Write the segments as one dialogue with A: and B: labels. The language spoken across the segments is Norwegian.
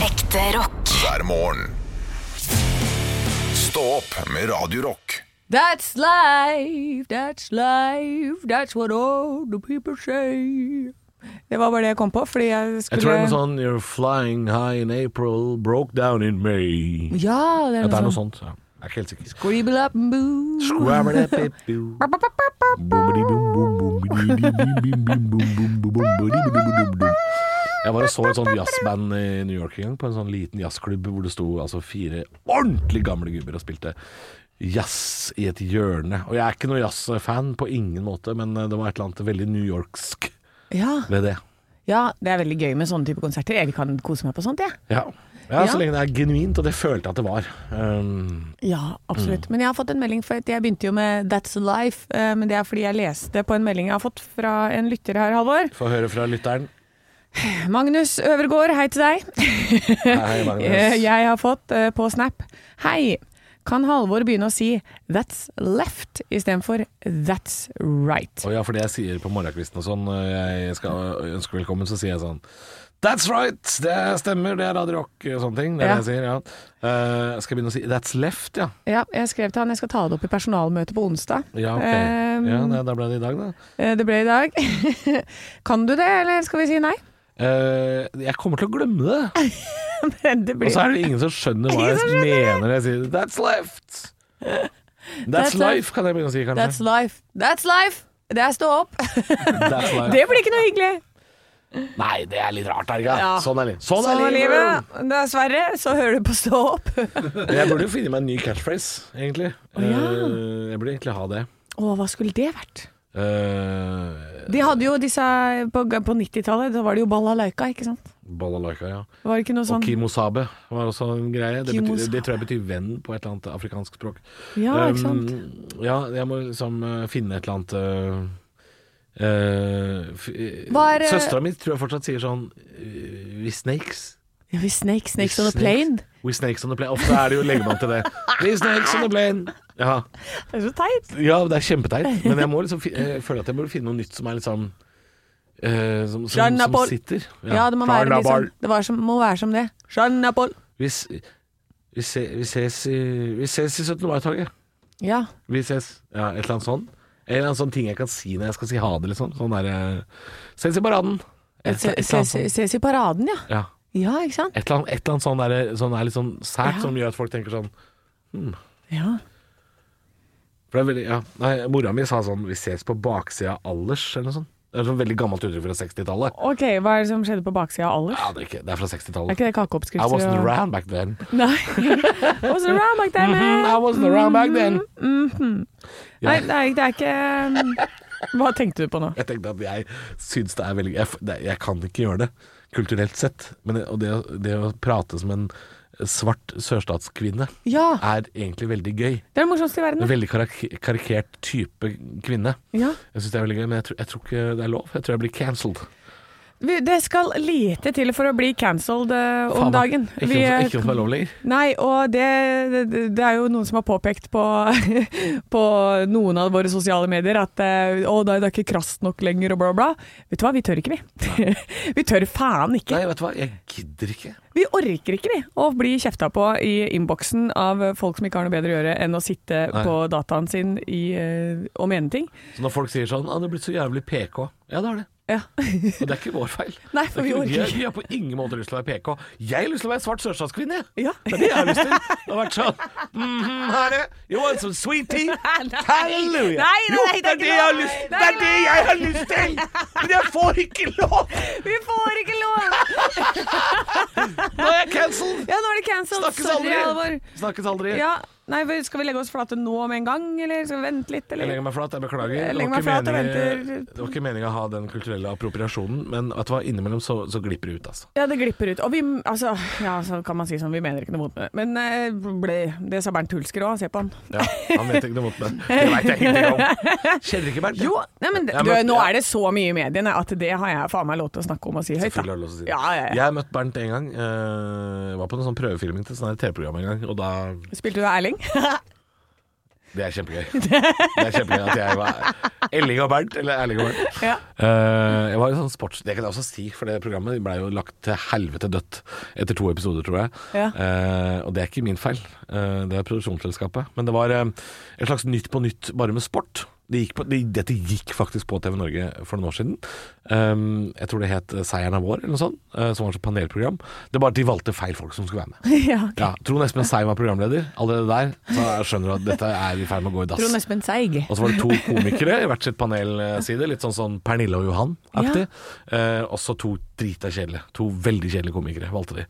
A: Ekte rock.
B: hver morgen. Stå opp med Radio Rock.
C: That's life, that's life, that's what all the people say. Det var bare det jeg kom på, fordi jeg
D: Jeg
C: skulle
D: tror det er noe sånn You're flying high in April, broke down in May.
C: Ja, det er
D: sånn- At det er
C: noe
D: noe sånn-
C: sånt.
D: sånt. Ja. Jeg er ikke helt sikker.
C: Scribble up and boo.
D: Scrabble-a-bip-boo. Boomidi-boom-boom-boom-boom-boom-boom-boom-boom-boom-boom-boom-boom-boom. Jeg var og så et sånt jazzband i New York en gang, på en sånn liten jazzklubb hvor det sto altså fire ordentlig gamle gubber og spilte jazz i et hjørne. Og jeg er ikke noe jazzfan på ingen måte, men eh, det var et eller annet veldig newyorksk
C: Ja,
D: ved det.
C: ja, det er veldig gøy med sånne type konserter. Jeg kan kose meg på sånt, jeg.
D: Ja. ja,
C: Ja.
D: så lenge det er genuint, og det følte jeg at det var. Um,
C: Ja, absolutt. Men jeg har fått en melding, for at jeg begynte jo med That's Life. eh, Men det er fordi jeg leste på en melding jeg har fått fra en lytter her, Halvor.
D: Få høre fra lytteren.
C: Magnus Øvergård, hei til deg.
D: Hei,
C: Eh,
D: Magnus.
C: Jeg har fått eh, på Snap Hei, kan Halvor begynne å si That's left istedenfor That's right?
D: Og ja, for det jeg sier på morgenkvisten og sånn, når jeg skal ønske velkommen, så sier jeg sånn That's right! Det stemmer, det er Radio Rock og sånne ting. Det er
C: Ja.
D: det jeg sier, ja. Eh, skal jeg begynne å si That's left, ja.
C: Ja, jeg skrev til han jeg skal ta det opp i personalmøtet på onsdag.
D: Ja, ok.
C: Um,
D: ja, nei, da ble det i dag, da.
C: Eh, Det ble i dag. kan du det, eller skal vi si nei?
D: Eh, jeg kommer til å glemme det.
C: Det
D: Og
C: blir
D: så er det ingen som skjønner hva jeg
C: Ingen som
D: mener når jeg sier That's left! That's
C: That's left.
D: life, kan jeg begynne å si, kanskje.
C: That's life. That's life! Det er stå opp.
D: That's life.
C: Det blir ikke noe hyggelig.
D: Nei, det er litt rart, Erga.
C: Ja.
D: Sånn er, li- sånn
C: Sånn
D: er livet!
C: Dessverre, så hører du på stå opp.
D: Jeg burde jo finne meg en ny catchphrase, egentlig.
C: ja.
D: Eh, jeg burde egentlig ha det.
C: Å, hva skulle det vært?
D: Eh,
C: De hadde jo disse På, på 90-tallet, da var det jo balalaika, ikke sant?
D: Balalaika, ja.
C: Var det ikke noe sånn
D: Og kimosabe var også en greie. Det, betyr,
C: Kimosabe.
D: det tror jeg betyr venn på et eller annet afrikansk språk.
C: Ja, ikke sant?
D: Um, ja, jeg må liksom eh, finne et eller annet eh, eh, f- eh,
C: Hva er, eh,
D: Søstera mi tror jeg fortsatt sier sånn eh, We snakes.
C: Ja, vi snake, snakes
D: We
C: on a plane.
D: We snakes on the plane. Ofte er det jo legger man til det. We snakes on the plane. Ja,
C: Det er så teit.
D: ja det er kjempeteit, men jeg må liksom fi, jeg føler at jeg burde finne noe nytt som er litt sånn eh, som, som, som
C: Jarnabol.
D: sitter.
C: Ja, det må være litt sånn Det var som, må være som det. Jean-Napol.
D: Vi, s- vi, se, vi, ses i, vi ses i 17. mai-toget.
C: Ja.
D: Vi ses. Ja, et eller annet sånn. En eller annen sånn ting jeg kan si når jeg skal si ha det, liksom. Sånn der eh, Ses i paraden. Et,
C: Se-
D: et, eller annet
C: Ses,
D: sånn.
C: ses i paraden, ja.
D: Ja.
C: Ja, ikke sant?
D: Et eller annet, et eller annet sånn, der, sånn er litt sånn sært
C: Ja.
D: som gjør at folk tenker sånn
C: Ja.
D: For det er veldig, ja. Nei, mora mi sa sånn Vi ses på baksida av alders, eller noe sånt. Det er et sånn veldig gammelt uttrykk fra 60-tallet.
C: Ok, hva er det som skjedde på baksida av Allers?
D: Ja, det er, ikke, det er fra
C: Er
D: 60-tallet.
C: ikke det
D: I
C: kakeoppskrifter?
D: wasn't
C: og-
D: around back then.
C: Nei. wasn't around back then.
D: Mhm, I
C: man.
D: wasn't around back then.
C: Nei, det er, det er ikke um, Hva tenkte du på nå?
D: Jeg tenkte at jeg syns det er veldig Jeg, f- det, jeg kan ikke gjøre det kulturelt sett. Men det, og det, å- det å prate som en svart sørstatskvinne
C: Ja,
D: er egentlig veldig gøy.
C: det er det morsomste i verden.
D: En
C: det.
D: veldig karak karikert type kvinne.
C: Ja.
D: Jeg syns det er veldig gøy, men jeg tror, jeg tror ikke det er lov. Jeg tror jeg blir cancelled.
C: Vi- Det skal lite til for å bli cancelled eh, om
D: Faen meg.
C: dagen.
D: Ikke,
C: Vi,
D: om-
C: eh,
D: ikke om det er lov lenger.
C: Nei, og det, det, det er jo noen som har påpekt på, på noen av våre sosiale medier at eh, å, nei, det er ikke krast nok lenger og bla, bla. Vet du hva, vi tør ikke, vi. vi tør faen ikke.
D: Nei, vet du hva, jeg gidder ikke.
C: Vi orker ikke, vi, å bli kjefta på i innboksen av folk som ikke har noe bedre å gjøre enn å sitte
D: Nei.
C: på dataen sin i, eh, og mene ting.
D: Så når folk sier sånn 'Å, det er blitt så jævlig PK'. Ja, det er det.
C: Ja.
D: Og det er ikke vår feil.
C: Nei, for
D: Det er
C: vi
D: ikke-
C: orker ikke.
D: Vi har på ingen måte lyst til å være PK. Jeg har lyst til å være svart sørstatskvinne, jeg.
C: Ja.
D: Det er det jeg har lyst til. Det har vært sånn «Mhm, herre, you want some sweet tea? Halleluja!
C: Nei, nei,
D: jo,
C: nei,
D: det er det jeg har lyst
C: til.
D: til! Det er det jeg har lyst til! Men jeg får ikke lov!
C: Vi får ikke lov!
D: Nå er jeg cancelled!
C: Ja, nå er det cancelled.
D: Snakkes
C: Sorry,
D: aldri!
C: Alvor.
D: Snakkes aldri.
C: Ja, nei, skal vi legge oss flate nå med en gang, eller skal vi vente litt,
D: Jeg
C: eller?
D: legger meg flat, jeg beklager.
C: Jeg
D: Det var
C: legger meg
D: ikke
C: flat og
D: meningen-
C: venter.
D: Det var ikke meningen å ha den kulturelle appropriasjonen, men at det var innimellom så, så glipper det ut, altså.
C: Ja, det glipper ut. Og vi, altså, ja, så kan man si sånn, vi mener ikke noe mot det. Men eh, ble, det sa Bernt Hulsker òg, se på han.
D: Ja, han vet ikke noe mot meg. Det veit jeg ingenting om. Kjenner ikke Bernt. jeg.
C: Jo, nei, men,
D: Jeg
C: du,
D: møtte-
C: nå
D: ja.
C: er det så mye i mediene at det har jeg faen meg lov til å snakke om og si høyt.
D: Selvfølgelig
C: Da.
D: har du lov til å si det.
C: Ja, ja, ja.
D: Jeg har møtt Bernt en gang. sånn eh, Jeg var på noen sånn prøvefilming til et sånt her TV-program en gang, og da
C: Spilte du Erling?
D: Det er kjempegøy. Det er kjempegøy at jeg var Elling og Bernt, eller Erling og Bernt.
C: Ja.
D: Eh, jeg var en sånn sports... Det kan jeg også si, for det programmet ble jo lagt til helvete dødt etter to episoder, tror jeg.
C: Ja.
D: Eh, og det er ikke min feil. Eh, det er produksjonsselskapet. Men det var eh, et slags Nytt på nytt, bare med sport. Det gikk på, det, dette gikk faktisk på TV Norge for noen år siden. Eh, jeg tror det het Seieren er vår, eller noe sånt. eh, som var et panelprogram. Det er bare at de valgte feil folk som skulle være med.
C: ja. ok.
D: Ja, Trond Espen Seim var programleder. Allerede der så skjønner du at dette er i ferd med å gå i dass.
C: Trond Espen Seig.
D: Og så var det to komikere i hvert sitt panelside, litt sånn, sånn Pernille og Johan-aktig. Eh, og så to drita kjedelige. To veldig kjedelige komikere, valgte de.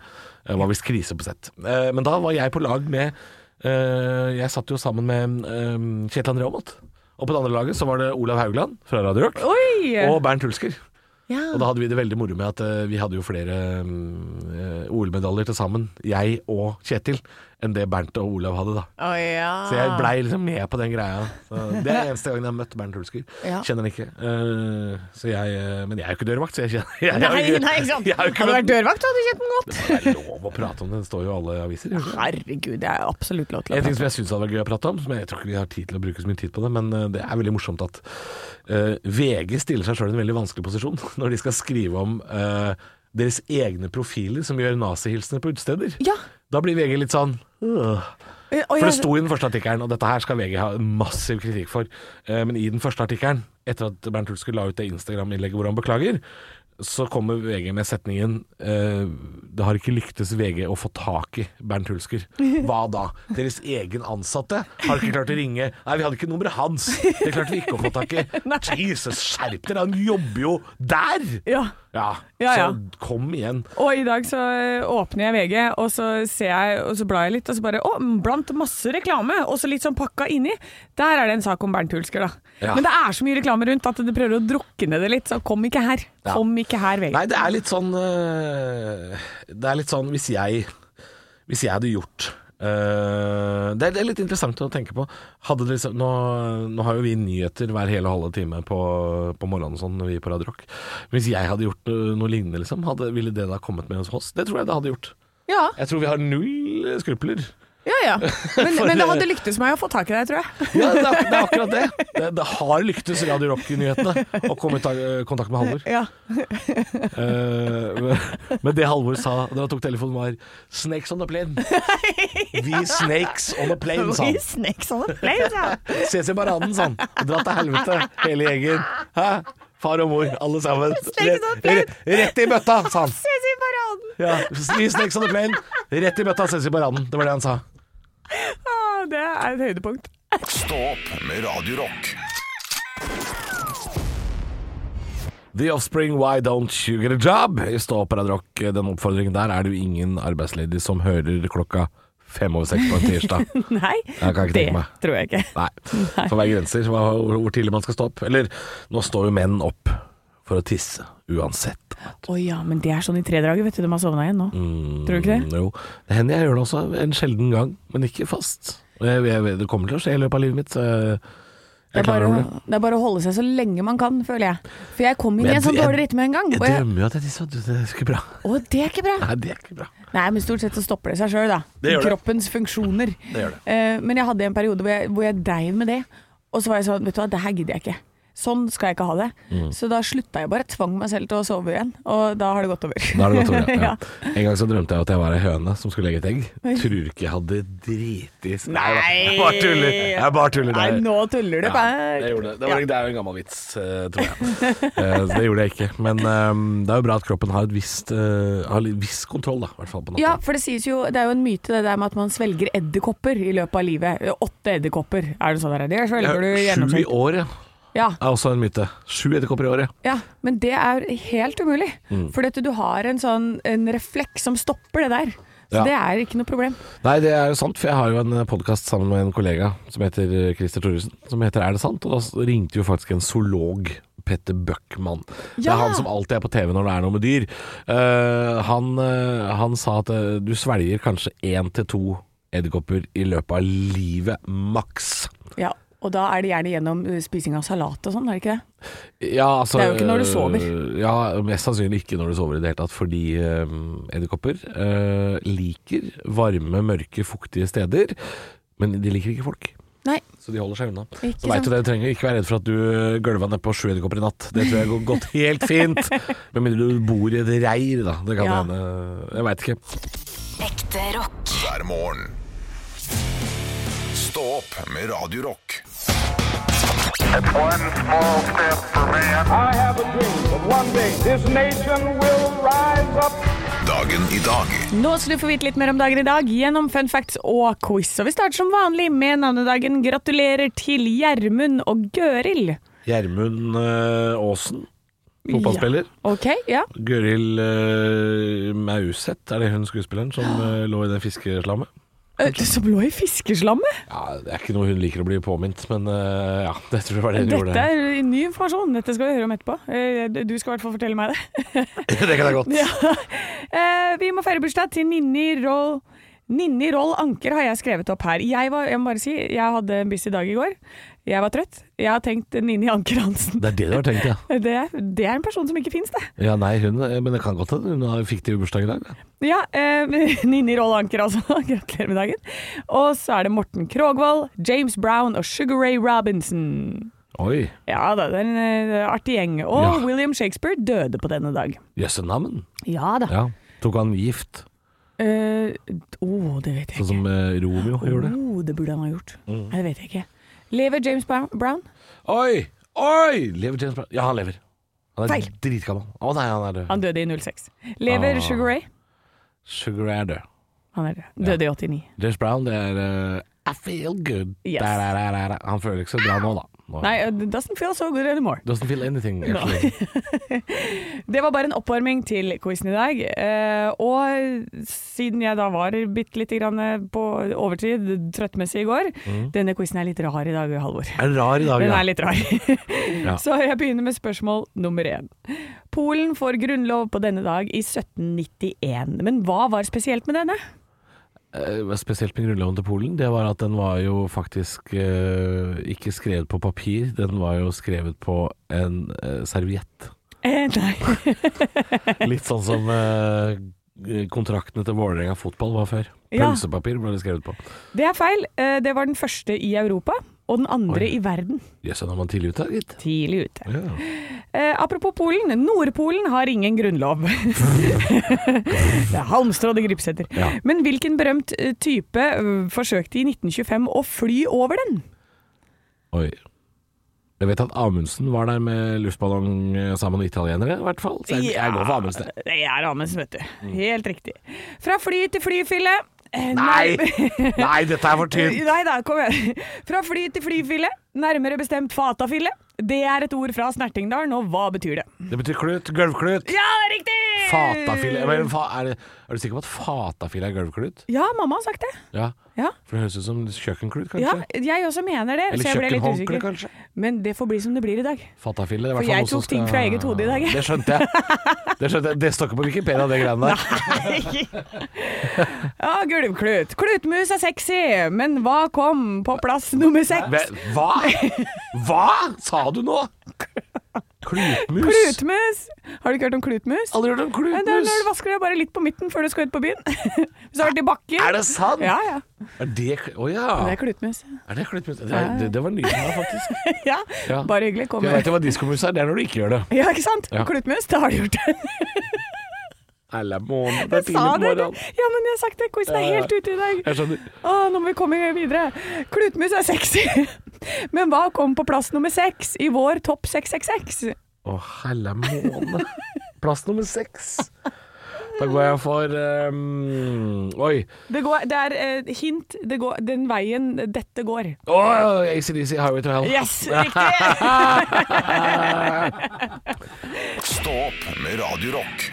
D: Det var visst krise på sett. Eh, men da var jeg på lag med eh, Jeg satt jo sammen med eh, Kjetil André Aamodt. Og på det andre laget så var det Olav Haugland fra Radio Rock.
C: Oi!
D: Og Bernt Hulsker.
C: ja.
D: Og da hadde vi det veldig moro med at eh, vi hadde jo flere eh, OL-medaljer til sammen, jeg og Kjetil, enn det Bernt og Olav hadde, da.
C: Å, ja.
D: Så jeg blei liksom med på den greia. Så det er eneste gangen jeg har møtt Bernt Hulsker.
C: Ja.
D: Kjenner han ikke. Eh, så jeg, eh, men jeg er jo ikke dørvakt, så jeg kjenner jeg, har
C: Nei,
D: jo ikke-
C: nei, ikke sant.
D: jeg har jo ikke
C: Hadde du
D: møtt-
C: vært dørvakt, hadde du kjent den godt.
D: Det er lov å prate om det, det står jo i alle aviser. gjør det ikke?
C: Herregud, det er absolutt lov til å
D: En ting
C: prate.
D: som jeg syns hadde vært gøy å prate om, som jeg tror ikke vi har tid til å bruke så mye tid på det, men eh, det er veldig morsomt at eh, VG stiller seg sjøl i en veldig vanskelig posisjon når de skal skrive om eh, deres egne profiler som gjør nazihilsener på utesteder.
C: Ja.
D: Da blir VG litt sånn øh.
C: Eh, og
D: For det
C: jeg-
D: sto i den første artikkelen, og dette her skal VG ha massiv kritikk for, eh, men i den første artikkelen, etter at Bernt Hulsker la ut det Instagram-innlegget hvor han beklager, så kommer VG med setningen eh, Det har ikke lyktes VG å få tak i Bernt Hulsker. Hva da? Deres egen ansatte har ikke klart å ringe Nei, vi hadde ikke nummeret hans. Det klarte vi ikke å få tak i. Jesus, skjerp dere! Han jobber jo der!
C: Ja.
D: Ja,
C: Ja, ja.
D: så kom igjen.
C: Og i dag så eh, åpner jeg VG, og så ser jeg, og så blar jeg litt, og så bare Å, mm, blant masse reklame, og så litt sånn pakka inni. Der er det en sak om Bernt Hulsker, da.
D: Ja.
C: Men det er så mye reklame rundt at det prøver å drukne det litt, så kom ikke her.
D: Ja.
C: Kom ikke her, VG.
D: Nei, det er litt sånn øh, Det er litt sånn hvis jeg Hvis jeg hadde gjort øh, det, er, det er litt interessant å tenke på. Hadde det liksom, nå, nå har jo vi nyheter hver hele halve time på, på morgenen og sånn når vi er på Radio Rock. Hvis jeg hadde gjort noe, noe lignende, liksom, hadde, ville det da kommet med hos oss? Det tror jeg det hadde gjort.
C: Ja,
D: Jeg tror vi har null skrupler.
C: ja. ja. Men, men det hadde lyktes meg å få tak i deg, tror jeg.
D: Ja, det, er, ak- det er akkurat det. det. Det har lyktes Radio Rock-nyhetene å komme i ta- kontakt med Halvor.
C: Ja.
D: Eh, men- men det Halvor sa da han tok telefonen var 'Snakes on a plane'. Vi snakes on a plane, sa han.
C: Snakes on a plane, sa han.
D: Ses i baranen, sa han. Dra til helvete, hele gjengen. Hæ? Far og mor, alle sammen.
C: Snakes on a plane.
D: Re- rett i bøtta, sa han.
C: Ses i paraden.
D: Ja, vi snakes on a plane. Rett i bøtta, ses i baranen. Det var det han sa.
C: Å, det er et høydepunkt.
B: Stå opp med Radio Rock.
D: The Offspring, Why Don't You Get A Job? I Stå opp, Radio Rock. Den oppfordringen der er det jo ingen arbeidsledig som hører klokka fem over seks på en tirsdag.
C: Nei,
D: Jeg kan ikke
C: det
D: tenke meg.
C: tror jeg ikke.
D: Nei. For hver grenser hva, hvor, hvor tidlig man skal stå opp. Eller nå står jo menn opp for å tisse uansett.
C: Å ja, men det er sånn i tre dager, vet du. De har sovna igjen nå. Tror du ikke det?
D: Mm, Jo, det hender jeg gjør det også en sjelden gang, men ikke fast. Og Jeg, jeg, vet- det kommer til å skje i løpet av livet mitt. Så jeg, jeg
C: Det
D: er
C: er,
D: klar
C: bare,
D: over det.
C: det er bare å holde seg så lenge man kan, føler jeg. For jeg kom inn i
D: Men
C: en sånn
D: jeg-
C: dårlig rytme en gang.
D: Jeg
C: Og jeg,
D: drømmer jo at jeg tisser, og det er ikke bra.
C: å, det er ikke bra!
D: Nei, det er ikke bra.
C: Nei, men stort sett så stopper det seg sjøl, da.
D: Det gjør det.
C: Kroppens funksjoner.
D: Det gjør det.
C: Eh, men jeg hadde en periode hvor jeg, hvor jeg dreiv med det, og så var jeg sånn Vet du hva, det her gidder jeg ikke. Sånn skal jeg ikke ha det.
D: Mm.
C: Så da slutta jeg bare. Tvang meg selv til å sove igjen, og da har det gått over.
D: Da er det godt å gjøre.
C: Ja.
D: Ja. En gang så drømte jeg at jeg var ei høne som skulle legge et egg. Tror du ikke jeg hadde driti i Nei, da. jeg bare tuller. Jeg bare tuller.
C: Nei,
D: Det er-
C: nå tuller du
D: Ja,
C: bare.
D: det, gjorde det. Det,
C: Ja.
D: var, det er jo en gammel vits, eh, tror jeg. Eh, så det gjorde jeg ikke. Men eh, det er jo bra at kroppen har et visst eh, Har litt viss kontroll, da. I hvert fall på
C: Ja,
D: natta.
C: for det sies jo Det er jo en myte det der med at man svelger edderkopper i løpet av livet. Åtte edderkopper, er det sånn der? Det svelger du
D: Sju i
C: gjennomsnitt.
D: året
C: Ja,
D: er også en myte. Sju edderkopper i året.
C: ja, men det er helt umulig.
D: Mm.
C: For du har en sånn en refleks som stopper det der. Så
D: Ja.
C: det er ikke noe problem.
D: Nei, det er jo sant, for jeg har jo en podkast sammen med en kollega som heter eh, Christer Thoresen, som heter Er det sant? Og da s- ringte jo faktisk en zoolog. Petter Bøckmann. Det
C: Ja!
D: er han som alltid er på TV når det er noe med dyr. Eh, han, eh, han sa at eh, du svelger kanskje én til to edderkopper i løpet av livet, maks.
C: Ja, og da er det gjerne gjennom eh, spising av salat og sånn, er det ikke det?
D: Ja, altså,
C: Det er jo ikke når du sover.
D: øh, Ja, Mest sannsynlig ikke når du sover i det hele tatt, fordi øh, edderkopper eh, øh, liker varme, mørke, fuktige steder. Men de liker ikke folk.
C: Nei.
D: Så de holder seg unna.
C: Ikke
D: så vet du det, du trenger ikke være redd for at du eh, gølva nedpå sju edderkopper i natt. Det tror jeg går gått helt fint. Med mindre du bor i et reir, da. Det kan
C: Ja.
D: hende. Jeg veit ikke.
A: Ekte rock.
B: hver morgen. Stå opp med Radio Rock.
E: It's one small step for man.
F: I have a dream that one day this nation will rise up.
B: Dagen i dag
C: Nå skal du få vite litt mer om dagen i dag gjennom fun facts og quiz. Og vi starter som vanlig med navnedagen. Gratulerer til Gjermund og Gøril.
D: Gjermund eh, Aasen, fotballspiller.
C: Ok, ja.
D: Gøril eh, Mauseth, er det hun skuespilleren som eh, lå i det fiskeslammet?
C: Eh, Som lå i fiskeslammet?
D: Ja, Det er ikke noe hun liker å bli påminnet, men eh, ja, det tror jeg var det hun
C: Dette
D: gjorde.
C: er ny informasjon. Dette skal vi høre om etterpå. Eh, Du skal i hvert fall fortelle meg det.
D: det kan jeg godt.
C: Eh, Vi må feire bursdag til Ninni Roll. Ninni Roll Anker har jeg skrevet opp her. Jeg, var, jeg må bare si, jeg hadde en busy dag i går. Jeg var trøtt. Jeg har tenkt Ninni Anker Hansen.
D: Det er det du har tenkt, ja.
C: Det, det er en person som ikke finnes, det.
D: Ja, nei, hun, eh, Men det kan godt hende hun har fiktiv bursdag i dag. da.
C: Ja, eh, Ninni Roll Anker altså. Gratulerer med dagen. Og så er det Morten Krogvold, James Brown og Sugar Ray Robinson.
D: Oi,
C: Ja da, det er en eh, artig gjeng. Og
D: Ja.
C: William Shakespeare døde på denne dag.
D: jøsse navn.
C: Ja da.
D: Ja. Tok han gift,
C: Eh, oh, det vet jeg
D: sånn
C: ikke.
D: som eh, Romeo gjorde? Mm.
C: Oh, det burde han ha gjort. Nei, Det vet jeg ikke. Lever James Brown? Brown?
D: Oi! Oi! Lever James Brown? Ja, han lever. Han er
C: Feil.
D: dritgammel. Å nei, han er død.
C: Han døde i 06. Lever
D: Ah.
C: Sugar Ray?
D: Sugar er død.
C: Han er død. Døde i 89.
D: James Brown, det er eh, I feel good.
C: Yes.
D: Der, der, der, der. Han føler ikke så bra nå, da. Nå.
C: Nei, uh, it doesn't feel so good anymore.
D: Doesn't feel anything, actually.
C: Det var bare en oppvarming til quizen i dag. eh, Og siden jeg da var bitte lite grann uh, på overtid trøttmessig i går Denne quizen er litt rar i dag, Halvor.
D: Er rar i dag,
C: Den
D: Mm. Ah, ja.
C: er litt rar. Så jeg begynner med spørsmål nummer én. Polen får grunnlov på denne dag i 1791. Men hva var spesielt med denne?
D: Eh, Spesielt med grunnloven til Polen, det var at den var jo faktisk eh, ikke skrevet på papir, den var jo skrevet på en eh, serviett.
C: Eh, nei.
D: Litt sånn som eh, kontraktene til Vålerenga fotball var før.
C: Ja.
D: Pølsepapir ble det skrevet på.
C: Det er feil. Eh, Det var den første i Europa, og den andre
D: Oi.
C: i verden.
D: Jøss, den var man tidlig ute, gitt.
C: Tidlig ute.
D: Ja.
C: Eh, apropos Polen. Nordpolen har ingen grunnlov. det er Halmstrå det gripsetter.
D: Ja.
C: Men hvilken berømt eh, type eh, forsøkte i 1925 å fly over den?
D: Oi. Jeg vet at Amundsen var der med luftballong eh, sammen med italienere, i hvert fall. Så jeg, jeg går for Amundsen. jeg.
C: Det er Amundsen, vet du.
D: Mm.
C: Helt riktig. Fra fly til flyfille. Eh,
D: Nei! Nei, dette er for tynt!
C: Nei da, kom igjen. Fra fly til flyfille, nærmere bestemt fatafille. Det er et ord fra Snertingdalen, og hva betyr det?
D: Det betyr klut. Gulvklut.
C: Ja, det er riktig!
D: Fatafille. Men fa er, det, er du sikker på at fatafille er gulvklut?
C: Ja, mamma har sagt det.
D: Ja.
C: Ja,
D: For det høres ut som kjøkkenklut,
C: ja
D: kanskje?
C: jeg også mener det.
D: Eller
C: så jeg ble litt
D: kjøkkenhåndkle,
C: usikker.
D: kanskje?
C: Men det får bli som det blir i dag.
D: Fatafille. det er i
C: For
D: hvert fall
C: jeg
D: noe som
C: tok ting fra eget hode i dag, jeg.
D: Det skjønte jeg. Det skjønte jeg. Det står ikke på Wikipedia, det greiene der.
C: Ja, gulvklut. Klutmus er sexy, men hva kom på plass nummer seks?
D: Ve- Hva? Hva sa du nå? Klutmus?
C: Klutmus! Har du ikke hørt om klutmus?
D: Aldri hørt om
C: Nei, Det er
D: klutmus.
C: når du vasker deg bare litt på midten før du skal ut på byen. Hvis du har vært i bakken.
D: Er det sant?
C: Ja, ja.
D: Er det kl- Å ja.
C: Det er klutmus.
D: Er det klutmus? Det, er- det, det var nytt her, faktisk.
C: Ja,
D: Ja.
C: bare hyggelig. Kom
D: Jeg
C: med.
D: vet jo hva diskomus er. Det er når du ikke gjør det.
C: Ja, ikke sant?
D: Ja.
C: Klutmus, det har du gjort.
D: Eller måned, det
C: Jeg
D: er tidlig
C: sa
D: på
C: det.
D: morgenen.
C: Ja, men jeg har sagt det. Quizen er
D: Ja, ja.
C: helt ute i dag.
D: Jeg skjønner.
C: Å, nå må vi komme videre. Klutmus er sexy. Men hva kom på plass nummer seks i vår topp 666?
D: Å, helle måne. Plass nummer seks. Da går jeg for ehm, Oi.
C: Det, går, det er eh, hint det går, den veien dette går.
D: Oh, ACDC, Highway to Hell.
C: Yes, riktig!
B: Stå opp med Radio Rock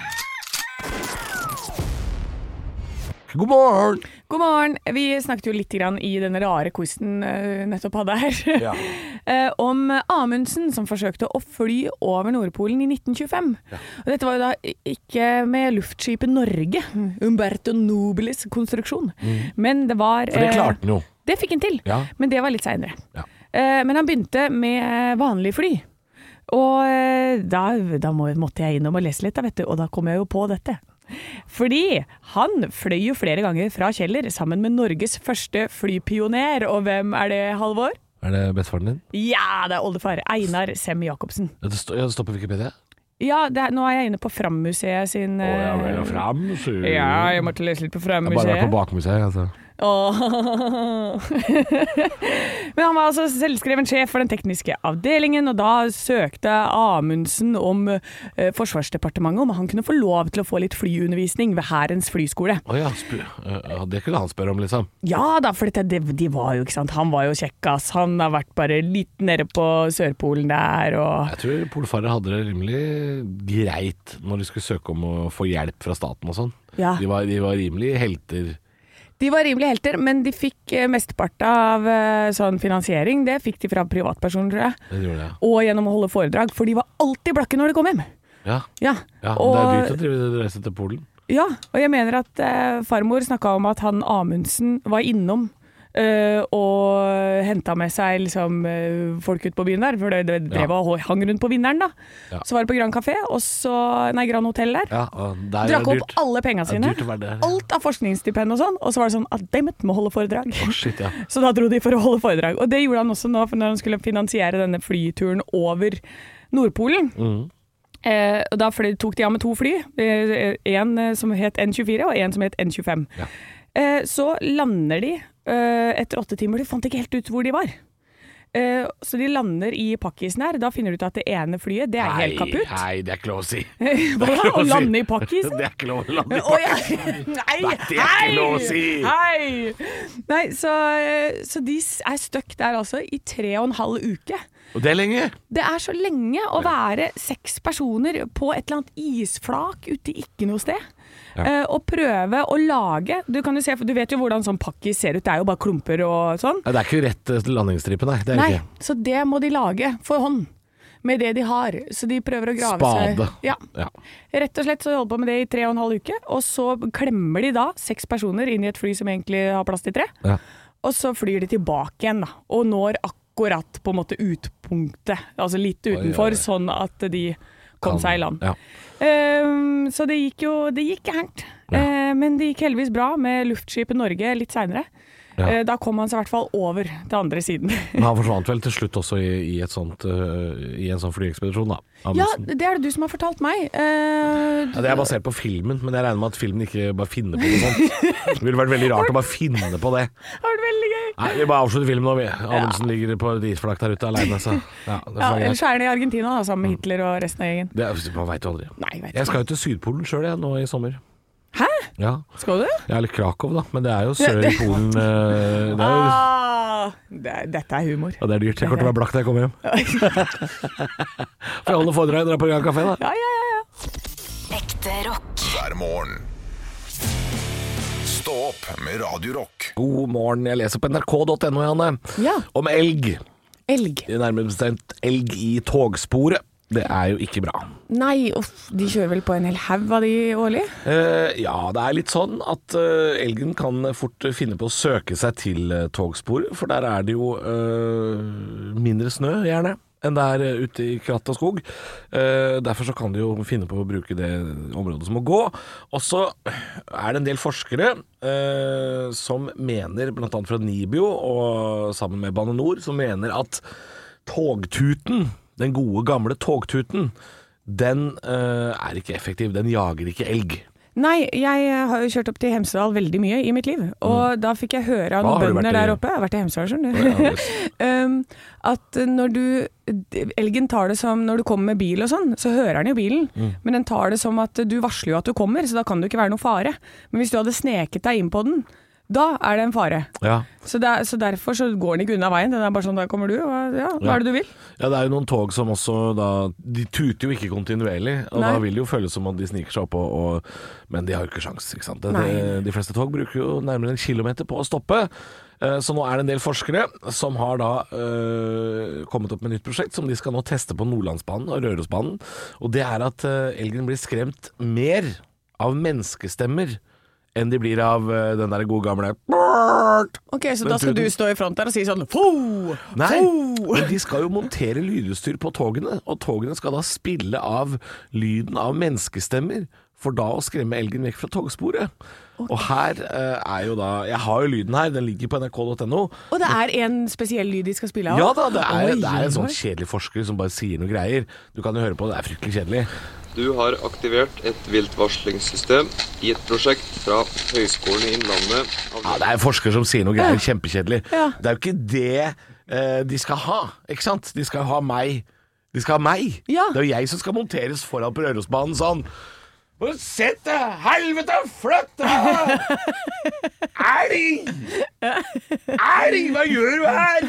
D: God morgen!
C: God morgen. Vi snakket jo litt grann i den rare quizen eh, nettopp hadde her,
D: Ja.
C: eh, om Amundsen som forsøkte å fly over Nordpolen i 1925. Og dette var jo da i- ikke med luftskipet Norge, Umberto Nobilis konstruksjon, men det var
D: Mm. For det
C: eh,
D: klarte han jo.
C: Det fikk han til,
D: Ja.
C: men det var litt seinere.
D: Ja.
C: Eh, men han begynte med vanlig fly. eh, Og eh, da, da må, måtte jeg innom og lese litt, da, vet du, og da kom jeg jo på dette. Fordi han fløy jo flere ganger fra Kjeller sammen med Norges første flypioner. Og hvem er det, Halvor?
D: Er det bestefaren din?
C: Ja, det er oldefar. Einar Sem-Jacobsen.
D: Ja, Det sto- ja, det står på Wikipedia.
C: Ja, det er, nå er jeg inne på Frammuseet sin
D: Å, ja, vel, ja,
C: eh,
D: fram, så
C: ja, jeg måtte lese litt på
D: Jeg har bare vært
C: Frammuseet.
D: på bakmuseet. Altså.
C: Åh. Men han var altså selvskreven sjef for den tekniske avdelingen, og da søkte Amundsen om eh, Forsvarsdepartementet om han kunne få lov til å få litt flyundervisning ved Hærens flyskole.
D: Å ja, sp ja, det kunne han spørre om, liksom.
C: Ja da, for dette, det, de var jo, ikke sant, han var jo kjekkas. Han har vært bare litt nede på Sørpolen der og
D: Jeg tror polfarer hadde det rimelig greit når de skulle søke om å få hjelp fra staten og sånn.
C: Ja.
D: De, var, de var rimelig helter.
C: De var rimelige helter, men de fikk eh, mesteparten av eh, sånn finansiering. Det fikk de fra privatpersoner, tror jeg.
D: Det gjorde jeg.
C: Og gjennom å holde foredrag, for de var alltid blakke når de kom hjem.
D: Ja.
C: Ja,
D: ja men
C: og,
D: Det er dyrt å drive reise til Polen.
C: ja, og jeg mener at eh, farmor snakka om at han Amundsen var innom. eh, og henta med seg liksom, eh, folk ut på byen der, for det, det drev
D: Ja.
C: og hang rundt på vinneren. da
D: Ja.
C: Så var det på Grand Café, og så, nei, Grand Hotell der.
D: Ja, og der
C: Drakk
D: er det
C: opp
D: dyrt.
C: alle penga
D: Det er
C: sine.
D: dyrt å være der, ja.
C: Alt av forskningsstipend og sånn. Og så var det sånn at dammet må holde foredrag.
D: Shit, ja.
C: Så da dro de for å holde foredrag. Og det gjorde han også nå, for når han skulle finansiere denne flyturen over Nordpolen.
D: Mm.
C: Eh, og da fløy, tok de av med to fly, én eh, en, eh, som het N24 og én som het N25.
D: Ja.
C: Eh, så lander de eh, etter åtte timer, de fant ikke helt ut hvor de var. Eh, så de lander i pakkisen her, da finner du ut at det ene flyet det er helt kaputt.
D: Nei, nei, det er ikke lov å si.
C: Hva da? Å lande i pakkisen?
D: Det er ikke lov å lande i
C: Å, ja. Nei,
D: pakkisen. Nei, det er ikke
C: hei!
D: lov å si.
C: Hei! Nei, så, eh, så de er stuck der altså i tre og en halv uke.
D: Og det er lenge.
C: Det er så lenge å være seks personer på et eller annet isflak ute i ikke noe sted. eh, Og prøve å lage Du, kan jo se, for du vet jo hvordan sånn pakkis ser ut, det er jo bare klumper og sånn.
D: Nei, det er ikke rett eh, landingsstripe, nei. Det er
C: Nei,
D: ikke.
C: så det må de lage for hånd. Med det de har. Så de prøver å grave
D: Spade.
C: seg Ja.
D: Ja.
C: Rett og slett så holder på med det i tre og en halv uke, og så klemmer de da seks personer inn i et fly som egentlig har plass til tre,
D: Ja.
C: og så flyr de tilbake igjen da, og når akkurat på en måte utpunktet, altså litt utenfor,
D: oi, oi.
C: sånn at de kom
D: Kan-
C: seg i land.
D: Ja.
C: Ehm, så det gikk jo, det gikk gærent,
D: Ja.
C: Eh, men det gikk heldigvis bra med luftskipet Norge litt senere.
D: Ja.
C: Eh, Da kom han seg i hvert fall over til andre siden.
D: Men han forsvant vel til slutt også i, i, et sånt, eh, i en sånn flyekspedisjon, da.
C: ja,
D: Amundsen.
C: det er det du som har fortalt meg. Eh,
D: Ja, det er basert på filmen, men jeg regner med at filmen ikke bare finner på noe sånt. Det ville vært veldig rart å bare finne på det.
C: det har vært veldig gøy.
D: Nei, Vi bare avslutter filmen nå, vi. Amundsen ligger på et isflak der ute aleine, så ja, det
C: Ja,
D: får være
C: ellers
D: greit.
C: er han i Argentina da, sammen med Hitler og resten av gjengen.
D: Det er- Man veit jo aldri.
C: Nei, vet
D: Jeg skal jo til Sydpolen sjøl nå i sommer.
C: Hæ?
D: Ja.
C: Skal du?
D: ja, eller Krakow, da. Men det er jo sør i Polen. eh, Det er jo
C: Ah, det, dette er humor.
D: Ja, det er dyrt. Jeg kommer til å være blakk da jeg kommer hjem. Får jeg holde foredrag dere på Grand Café, da?
C: Ja, ja, ja, ja.
A: Ekte rock.
B: hver morgen. Stå opp med Radio Rock.
D: God morgen. Jeg leser på nrk.no, Janne,
C: Ja.
D: om elg.
C: Elg.
D: Nærmere bestemt elg i togsporet. Det er jo ikke bra.
C: Nei, uff, de kjører vel på en hel haug av de årlig?
D: Eh, ja, det er litt sånn at eh, elgen kan fort finne på å søke seg til eh, togsporet, for der er det jo eh, mindre snø, gjerne, enn det er eh, ute i kratt og skog. Eh, derfor så kan de jo finne på å bruke det området som må gå. Og så er det en del forskere eh, som mener, bl.a. fra NIBIO og sammen med Bane NOR, som mener at togtuten, den gode gamle togtuten, den eh, er ikke effektiv. Den jager ikke elg.
C: Nei, jeg eh, har jo kjørt opp til Hemsedal veldig mye i mitt liv, og da fikk jeg høre av noen
D: Hva Mm. har du
C: bønder
D: vært i-
C: der oppe Jeg har vært i Hemsedal,
D: ja,
C: skjønner du. um, at når du Elgen tar det som Når du kommer med bil og sånn, så hører den jo bilen,
D: Mm.
C: men den tar det som at du varsler jo at du kommer, så da kan det jo ikke være noe fare. Men hvis du hadde sneket deg inn på den, da er det en fare.
D: Ja.
C: Så, der, så derfor så går den ikke unna veien. Den er bare sånn, der kommer du, og ja, hva
D: Ja.
C: er det du vil?
D: ja, det er jo noen tog som også da De tuter jo ikke kontinuerlig, og
C: Nei.
D: da vil det jo føles som om de sniker seg opp, og, og, men de har jo ikke sjans, ikke sant. De,
C: Nei.
D: de fleste tog bruker jo nærmere en kilometer på å stoppe. Eh, Så nå er det en del forskere som har da eh, kommet opp med et nytt prosjekt som de skal nå teste på Nordlandsbanen og Rørosbanen. Og det er at eh, elgen blir skremt mer av menneskestemmer enn de blir av eh, den der gode gamle
C: Ok, så
D: Men
C: da skal
D: du-
C: du stå i front der og si sånn Fo!
D: Nei,
C: Fo!
D: men de skal jo montere lydutstyr på togene, og togene skal da spille av lyden av menneskestemmer for da å skremme elgen vekk fra togsporet. Og her eh, er jo da Jeg har jo lyden her, den ligger på nrk.no.
C: Og det er en spesiell lyd de skal spille av?
D: Ja da, det er,
C: Oi,
D: det er en sånn
C: oi.
D: kjedelig forsker som bare sier noe greier. Du kan jo høre på, det er fryktelig kjedelig.
G: Du har aktivert et viltvarslingssystem i et prosjekt fra Høgskolen i Innlandet.
D: Ja, det er en forsker som sier noe greier, kjempekjedelig.
C: Ja.
D: Det er jo ikke det eh, de skal ha, ikke sant? De skal ha meg. De skal ha meg.
C: Ja.
D: Det er jo jeg som skal monteres foran på Rørosbanen sånn. «Å, Sett deg! Helvete, flytt deg! Elg! Elg, hva gjør du her?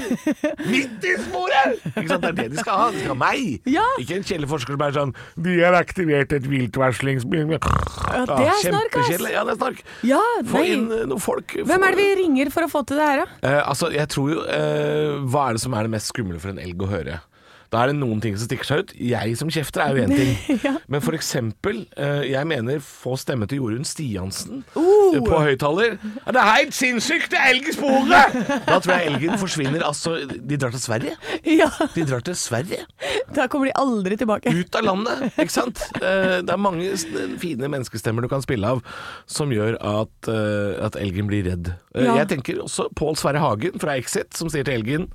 D: Midt i sporet! Ikke sant, Det er det de skal ha. De skal ha meg.
C: Ja.
D: Ikke en kjellerforsker som er sånn De har aktivert et viltvarslings... Ja,
C: det er snark, ass.
D: Kjempekjedelig. Ja, det er snark.
C: Ja,
D: Få
C: nei.
D: inn eh, noen folk.
C: Hvem er det vi ringer for å få til det her, da?
D: Eh, altså, jeg tror jo eh, Hva er det som er det mest skumle for en elg å høre? Da er det noen ting som stikker seg ut. Jeg som kjefter er jo én ting. Men for eksempel, eh, jeg mener få stemme til Jorunn Stiansen
C: Uh.
D: eh, på høyttaler. Ja, det er helt sinnssykt! Det er elg i sporet! Da tror jeg elgen forsvinner. Altså, de drar til Sverige.
C: Ja,
D: De drar til Sverige.
C: Da kommer de aldri tilbake.
D: Ut av landet, ikke sant? Eh, Det er mange s- fine menneskestemmer du kan spille av som gjør at, eh, at elgen blir redd. Eh,
C: Ja.
D: Jeg tenker også Pål Sverre Hagen fra Exit som sier til elgen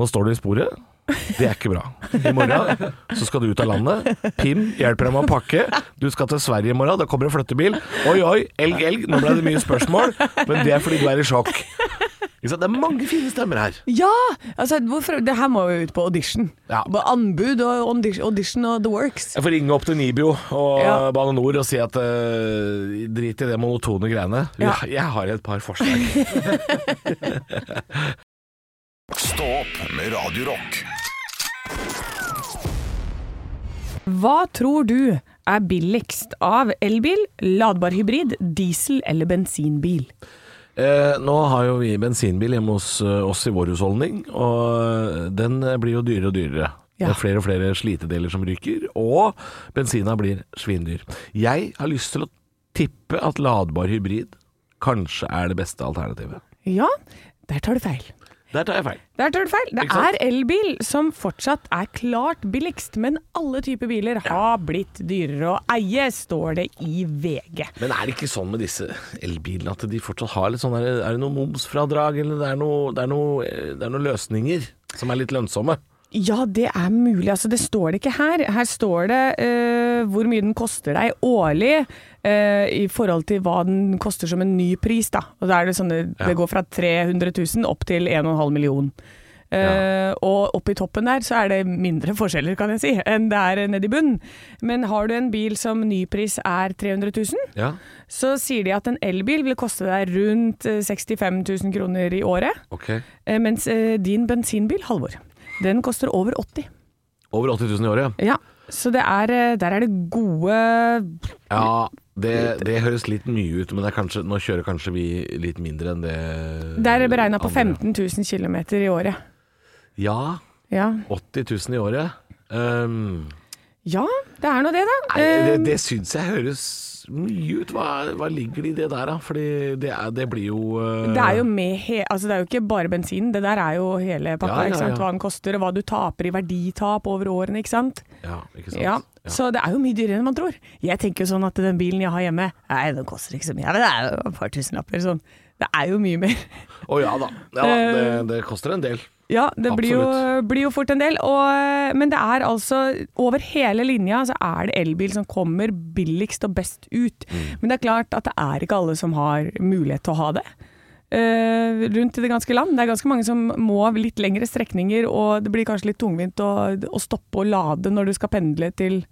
D: Nå står du i sporet. Det er ikke bra. I morgen så skal du ut av landet. Pim hjelper deg med å pakke. Du skal til Sverige i morgen. Da kommer det flyttebil. Oi, oi, elg, elg. Nå ble det mye spørsmål, men det er fordi du er i sjokk. Ikke sant? Det er mange fine stemmer her.
C: Ja! Altså, hvorfor, det her må jo ut på audition.
D: Ja.
C: På Anbud og audi- audition og the works.
D: Jeg får ringe opp til Nibio og
C: Ja.
D: Bane Nor og si at eh, drit i det monotone greiene.
C: Ja.
D: Jeg, jeg har et par forslag.
B: Stå opp med Radio Rock.
C: Hva tror du er billigst av elbil, ladbar hybrid, diesel eller bensinbil?
D: Eh, nå har jo vi bensinbil hjemme hos eh, oss i vår husholdning, og den eh, blir jo dyrere og dyrere.
C: Ja.
D: Det er flere og flere slitedeler som ryker, og bensina blir svindyr. Jeg har lyst til å tippe at ladbar hybrid kanskje er det beste alternativet.
C: Ja, der tar du feil.
D: Der tar jeg feil.
C: Der tar du feil. Det
D: Ikke sant?
C: er elbil som fortsatt er klart billigst, men alle typer biler har blitt dyrere å eie, står det i VG.
D: Men er det ikke sånn med disse elbilene at de fortsatt har litt sånn Er det- er det noe momsfradrag, eller det er, noe, det, er noe, eh, det er noen løsninger som er litt lønnsomme?
C: Ja, det er mulig. Altså, det står det ikke her. Her står det eh, hvor mye den koster deg årlig eh, i forhold til hva den koster som en ny pris. Da. Og da er det, sånne, det går fra 300 000 opp til 1,5 million. Eh, Og oppe i toppen der så er det mindre forskjeller, kan jeg si, enn det er nede i bunnen. Men har du en bil som nypris er 300 000,
D: Ja.
C: så sier de at en elbil vil koste deg rundt eh, 65 000 kroner i året,
D: Ok.
C: eh, mens eh, din bensinbil, Halvor, den koster over 80
D: Over 80 000 i året?
C: ja, så det er, eh, der er det gode
D: Ja, det, det høres litt mye ut, men det er kanskje, nå kjører kanskje vi litt mindre enn det
C: Det er beregna på
D: andre.
C: 15 000 km i året.
D: Ja,
C: Ja.
D: 80 000 i året. Um,
C: ja, det er nå det, da.
D: nei, det
C: Eh,
D: det syns jeg høres mye ut. Hva, hva ligger det i det der, da? Fordi det, er, det blir jo eh,
C: Det er jo med he altså det er jo ikke bare bensin, det der er jo hele pakka.
D: Ja, ja,
C: ikke sant?
D: ja.
C: Hva den koster og hva du taper i verditap over årene, ikke sant?
D: Ja, ikke sant?
C: Ja. Så det er jo mye dyrere enn man tror. Jeg tenker jo sånn at den bilen jeg har hjemme, nei, den koster ikke så mye, Ja, men det er jo et par tusenlapper. Sånn. Det er jo mye mer.
D: Å ja da. Ja, da. Det,
C: Eh.
D: det koster en del.
C: Ja, det blir jo,
D: Absolutt.
C: blir jo fort en del. Og, eh, men det er altså over hele linja så er det elbil som kommer billigst og best ut.
D: Mm.
C: Men det er klart at det er ikke alle som har mulighet til å ha det. eh, rundt i det ganske land. Det er ganske mange som må litt lengre strekninger, og det blir kanskje litt tungvint å, å stoppe og lade når du skal pendle til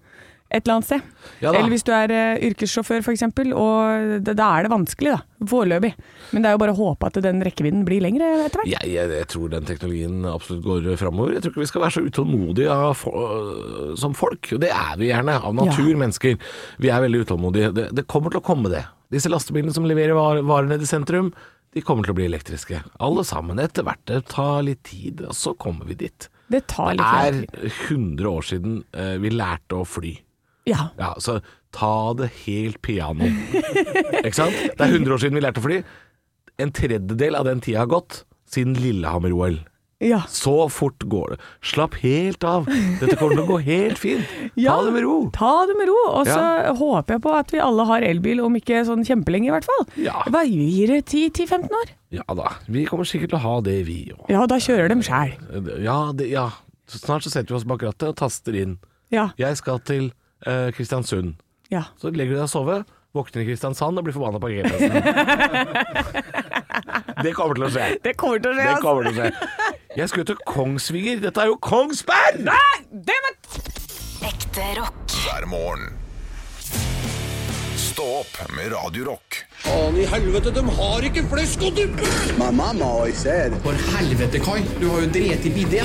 C: et eller annet sted.
D: Ja da.
C: eller hvis du er eh, yrkessjåfør f.eks., og det- da er det vanskelig, da. Foreløpig. Men det er jo bare å håpe at den rekkevidden blir lengre etter hvert.
D: Jeg, jeg, jeg tror den teknologien absolutt går framover. Jeg tror ikke vi skal være så utålmodige av fo- øh, som folk. Og det er vi gjerne, av natur,
C: Ja.
D: mennesker. Vi er veldig utålmodige. Det, det kommer til å komme, det. Disse lastebilene som leverer var, varer nede i sentrum, de kommer til å bli elektriske. Alle sammen etter hvert. Det tar litt tid, og så kommer vi dit.
C: Det tar
D: Det
C: litt
D: er
C: mer tid.
D: 100 år siden eh, vi lærte å fly.
C: Ja.
D: Ja, så ta det helt piano. Ikke sant? Det er 100 år siden vi lærte å fly. En tredjedel av den tida har gått siden Lillehammer-OL.
C: Ja.
D: Så fort går det. Slapp helt av. Dette kommer til å gå helt fint.
C: Ja,
D: Ta det med ro.
C: Ta det med ro, og så
D: Ja.
C: håper jeg på at vi alle har elbil, om ikke sånn kjempelenge i hvert fall.
D: Ja.
C: Hva gir det 10-15 år?
D: Ja da. Vi kommer sikkert til å ha det, vi òg.
C: Ja, da kjører de sjæl.
D: Ja, det, ja. Så Snart så setter vi oss bak rattet og taster inn.
C: Ja.
D: Jeg skal til eh, Kristiansund.
C: ja.
D: Så legger du deg og sover, våkner i Kristiansand og blir forbanna på GPS-en. det kommer til å skje.
C: Det kommer til å skje,
D: Det
C: altså.
D: kommer til å skje. Jeg skulle til Kongsvinger. Dette er jo Kongsberg!
C: Det var
A: Ekte rock.
B: hver morgen. Stå opp med Radio Rock.
H: My mom always said,
I: For helvete, Kai. Du har jo drept i bidé.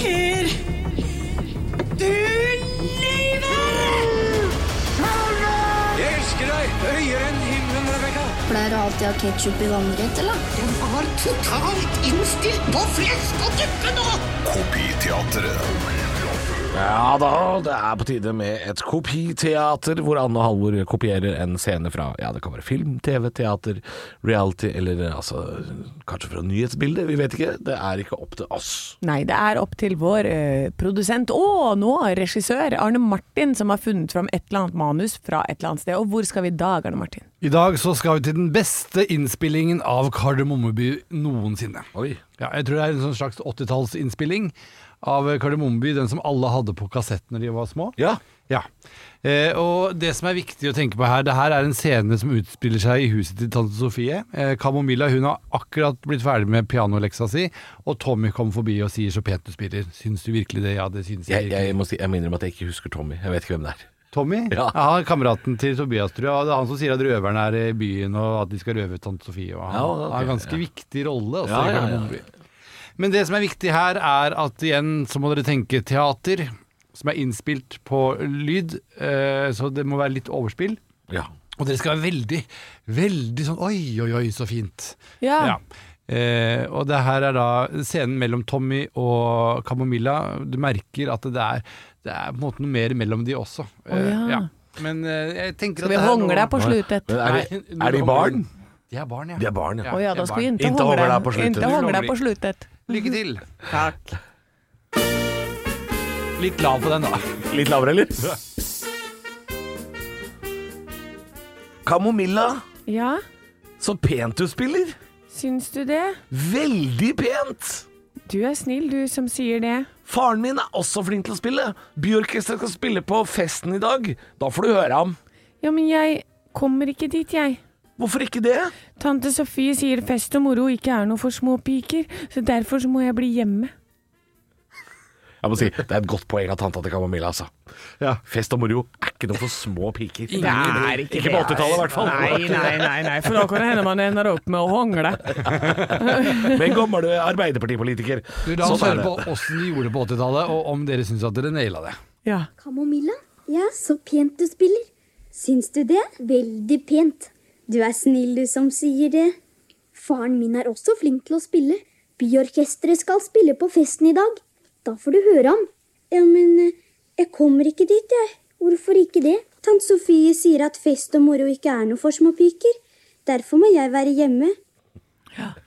J: Pleier du alltid å ha ketsjup i vannrett, eller? Den var totalt innstilt på flesk og duppe nå!
B: Kopiteatret
D: Ja da, det er på tide med et kopiteater hvor Anne og Halvor kopierer en scene fra ja, det kan være film, TV, teater, reality eller altså kanskje fra nyhetsbildet. Vi vet ikke. Det er ikke opp til oss.
C: Nei, det er opp til vår eh, produsent og nå regissør Arne Martin som har funnet fram et eller annet manus fra et eller annet sted. Og hvor skal vi i dag, Arne Martin?
K: I dag så skal vi til den beste innspillingen av Kardemommeby noensinne.
D: Oi.
K: Ja, jeg tror det er en sånn slags 80-tallsinnspilling av Kardemommeby, den som alle hadde på kassett når de var små.
D: Ja.
K: Ja. Eh, og det som er viktig å tenke på her, det her er en scene som utspiller seg i huset til tante Sofie. Eh, Kamomilla hun har akkurat blitt ferdig med pianoleksa si, og Tommy kom forbi og sier så pent du spiller. Syns du virkelig det? Ja, det syns jeg.
D: Jeg,
K: virkelig.
D: jeg må si, jeg må innrømme at jeg ikke husker Tommy. Jeg vet ikke hvem det er.
K: Tommy?
D: Ja.
K: Kameraten til Tobias, tror jeg. Det er han som sier at røverne er i byen, og at de skal røve tante Sofie. Og han
D: Ja, ok,
K: har en ganske viktig rolle. Altså,
D: Ja,
K: i
D: ja, ja.
K: Kardemommeby. Men det som er viktig her, er at igjen så må dere tenke teater, som er innspilt på lyd, eh, så det må være litt overspill.
D: Ja.
K: Og dere skal være veldig, veldig sånn oi, oi, oi, så fint.
C: Ja.
K: Eh, og det her er da scenen mellom Tommy og Kamomilla. Du merker at det er, det er på en måte noe mer mellom de også. Eh,
C: ja.
K: Men eh, jeg tenker
C: Skal vi
K: at det er
C: hongle
K: noe-
C: deg på sluttet?
D: Men
C: Å
D: er
K: Nei,
D: de,
K: nå
D: er de
K: kommer
D: barn?
K: hun. De er barn, ja.
D: De er barn, ja.
K: de
C: ja,
K: er
C: da skal vi
K: barn.
C: ikke
D: Inte
C: hongle
D: hongle
C: deg
D: deg på sluttet.
C: Inte hongle deg på sluttet.
K: Lykke til.
C: Takk.
K: Litt lav på den, da.
D: Litt lavere, eller? Kamomilla,
C: Ja,
D: så pent du spiller.
C: syns du det?
D: Veldig pent!
C: Du er snill, du som sier det.
D: Faren min er også flink til å spille. Byorkesteret skal spille på festen i dag. Da får du høre ham.
C: Ja, men jeg kommer ikke dit, jeg.
D: Hvorfor ikke det?
C: Tante Sofie sier fest og moro ikke er noe for små piker, så derfor så må jeg bli hjemme.
D: Jeg må si, Det er et godt poeng av tanta til Kamomilla. altså. Fest og moro er ikke noe for små piker. ikke på 80-tallet, i hvert fall.
C: altså. Nei, nei, nei, nei, for da kan det hende man ender opp med å hongle.
D: Men gammel arbeiderpartipolitiker. Sånn
K: Du, la oss høre på åssen de gjorde det på 80-tallet, og om dere syns at dere naila det.
C: Ja.
J: Kamomilla? Ja, så pent du spiller. Syns du det? Veldig pent. Du er snill, du som sier det. Faren min er også flink til å spille. Byorkesteret skal spille på festen i dag. Da får du høre ham. Ja, men eh, jeg kommer ikke dit, jeg. Hvorfor ikke det? Tante Sofie sier at fest og moro ikke er noe for små piker. Derfor må jeg være hjemme.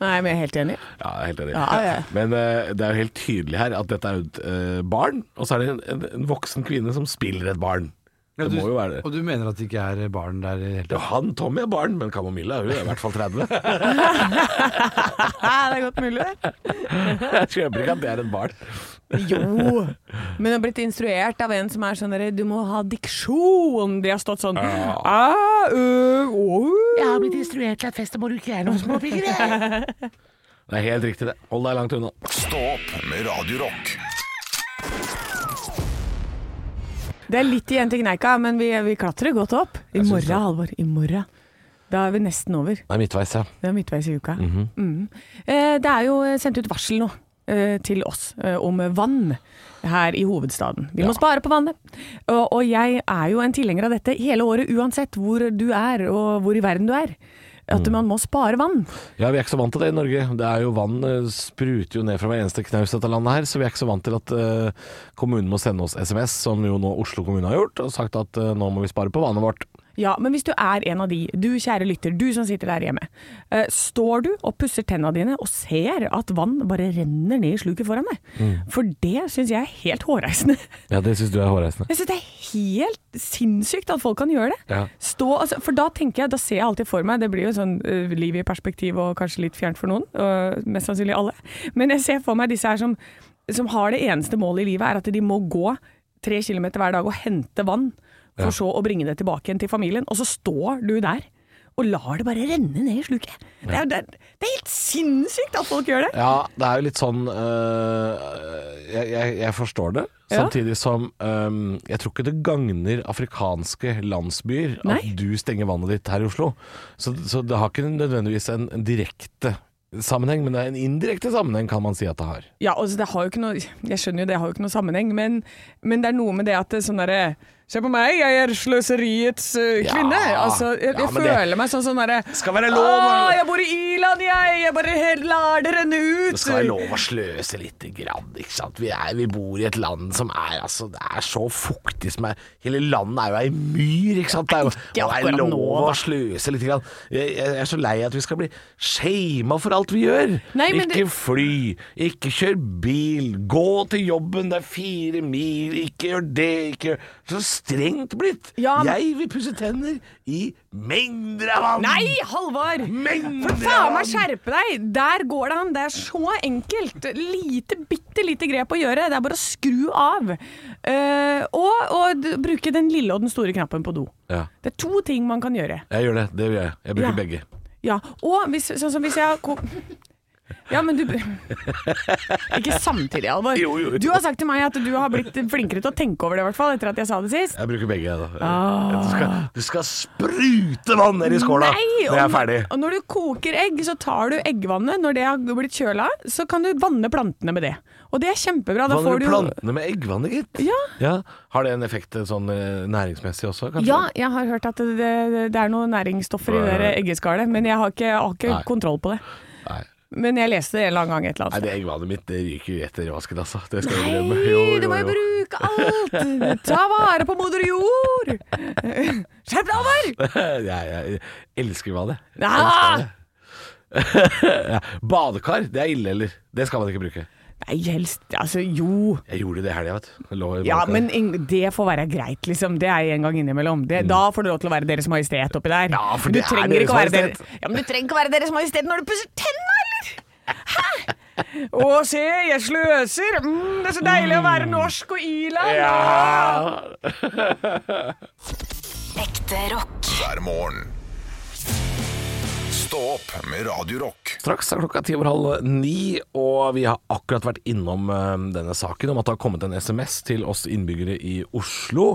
C: Nei, men jeg er helt enig.
D: Ja, jeg er helt enig.
C: Ja, ja.
D: Men eh, det er jo helt tydelig her at dette er jo et eh, barn, og så er det en, en, en voksen kvinne som spiller et barn. Det
K: du,
D: må jo være det.
K: Og du mener at det ikke er barn der i det hele
D: Ja,
K: tatt?
D: han Tommy er barn, men Kamomilla hun er i hvert fall 30.
C: Ja, det er godt mulig, det.
D: Jeg kjøper ikke at det er et barn.
C: Jo. Men jeg har blitt instruert av en som er sånn derre Du må ha diksjon. De har stått sånn «Æ, ø, å».
D: Det er helt riktig, det. Hold deg langt unna.
B: Stå opp med Radio Rock
C: Det er litt igjen til kneika, men vi, vi klatrer godt opp. I
D: Jeg syns
C: morgen,
D: det.
C: Halvor. I morgen. Da er vi nesten over.
D: Det er midtveis, ja.
C: Det er midtveis i uka.
D: Mhm.
C: Mm. Eh, Det er jo eh, sendt ut varsel nå eh, til oss eh, om vann her i hovedstaden. Vi må spare på vannet. Og, og jeg er jo en tilhenger av dette hele året, uansett hvor du er og hvor i verden du er. At
D: Mm.
C: man må spare vann.
D: Ja, Vi er ikke så vant til det i Norge. Det er jo Vann eh, spruter jo ned fra hver eneste knaus i dette landet her, så vi er ikke så vant til at eh, kommunen må sende oss SMS, som jo nå Oslo kommune har gjort, og sagt at eh, nå må vi spare på vannet vårt.
C: Ja, men hvis du er en av de, du kjære lytter, du som sitter der hjemme. eh, Står du og pusser tennene dine og ser at vann bare renner ned i sluket foran deg? For det syns jeg er helt hårreisende.
D: Ja, det syns du er hårreisende.
C: Jeg syns det er helt sinnssykt at folk kan gjøre det.
D: Ja.
C: Stå, altså, for da tenker jeg, da ser jeg alltid for meg, det blir jo sånn eh, liv i perspektiv og kanskje litt fjernt for noen, og mest sannsynlig alle, men jeg ser for meg disse her som, som har det eneste målet i livet er at de må gå tre kilometer hver dag og hente vann, for så å bringe det tilbake igjen til familien, og så står du der og lar det bare renne ned i sluket. Det, er, det, er, det er helt sinnssykt at folk gjør det.
D: Ja, det er jo litt sånn øh, jeg, jeg, jeg forstår det.
C: Ja.
D: Samtidig som øhm, jeg tror ikke det gagner afrikanske landsbyer at
C: Nei.
D: du stenger vannet ditt her i Oslo. Så, så det har ikke nødvendigvis en, en direkte sammenheng, men det er en indirekte sammenheng kan man si at det har.
C: Ja, altså det har jo ikke noe Jeg skjønner jo det har jo ikke noe sammenheng, men, men det er noe med det at det er sånn derre Se på meg, jeg er sløseriets eh,
D: Ja,
C: kvinne. altså, jeg jeg
D: ja, men det-
C: føler meg sånn sånn derre
D: Skal være lov,
C: Å,
D: altså.» da.
C: jeg bor i Irland, jeg! Jeg bare helt lar det renne ut!
D: Det skal være lov å sløse lite grann. Ikke sant? Vi, er, vi bor i et land som er, altså, det er så fuktig som er Hele landet er jo ei myr, ikke sant? Det er, jo- og det er
C: akkurat nå,
D: lov
C: da.
D: å sløse lite grann. Jeg, jeg er så lei at vi skal bli shama for alt vi gjør.
C: Nei, men
D: ikke
C: det-
D: fly, ikke kjør bil, gå til jobben, det er fire mil, ikke gjør det, ikke gjør Så strengt blitt.
C: Ja, men-
D: Jeg vil pusse tenner i mengder av vann.
C: Nei, Halvor!
D: Mengder
C: For faen meg
D: av-
C: skjerpe deg! Der går det an. Det er så enkelt. Lite, bitte lite grep å gjøre. Det er bare å skru av. Eh, og, og d- bruke den lille og den store knappen på do.
D: Ja.
C: Det er to ting man kan gjøre.
D: Jeg gjør det. Det gjør jeg. Jeg bruker
C: Ja.
D: begge.
C: Ja, og hvis, sånn som hvis jeg har ko- Ja, men du Ikke samtidig, Alvor.
D: Jo, jo, jo.
C: Du har sagt til meg at du har blitt flinkere til å tenke over det, i hvert fall, etter at jeg sa det sist.
D: Jeg bruker begge, jeg, da.
C: Ah.
D: Du, skal, du skal sprute vann ned i skåla
C: Nei,
D: når jeg er
C: og-
D: ferdig.
C: Og når du koker egg, så tar du eggvannet. Når det har blitt kjøla, så kan du vanne plantene med det. Og det er kjempebra. Da får
D: Vanner du
C: du
D: plantene med eggvann, gitt?
C: Ja.
D: Har det en effekt eh, sånn eh, næringsmessig også, kanskje?
C: Ja, jeg har hørt at det, det, det er noen næringsstoffer i det der eggeskallet, men jeg har ikke, jeg har
D: Nei.
C: ikke kontroll på det.
D: Nei.
C: Men jeg leste det en eller annen gang et eller annet
D: Nei,
C: sted.
D: det eggvannet mitt det ryker jo etter vasken, altså. Det skal jeg innrømme. Jo,
C: Nei, du
D: jo,
C: må jo
D: jo.
C: bruke alt! Ta vare på moder jord! Skjerp deg, Over!
D: jeg, jeg elsker vannet. Jeg
C: Ja.
D: elsker vannet. ja. Badekar, det er ille, eller? Det skal man ikke bruke.
C: Nei, helst Altså, jo.
D: Jeg gjorde det i helga, vet du. Jeg lå i
C: Ja,
D: badekar.
C: men ing- det får være greit, liksom. Det er en gang innimellom. Det, Da får du lov til å være Deres Majestet oppi der.
D: Mm. Ja, for
C: Men
D: det
C: du
D: er
C: trenger
D: Deres
C: ikke å være
D: Majestet.
C: Deres- Ja, men du trenger ikke å være Deres Majestet når du pusser tenna, eller? Hæ? Å, se, jeg sløser. Mm, det er så deilig å være norsk og i-land.
D: ja.
A: Ekte rock.
B: hver morgen. Stå opp med Radio Rock.
D: Straks er klokka ti over halv ni, og vi har akkurat vært innom eh, denne saken om at det har kommet en SMS til oss innbyggere i Oslo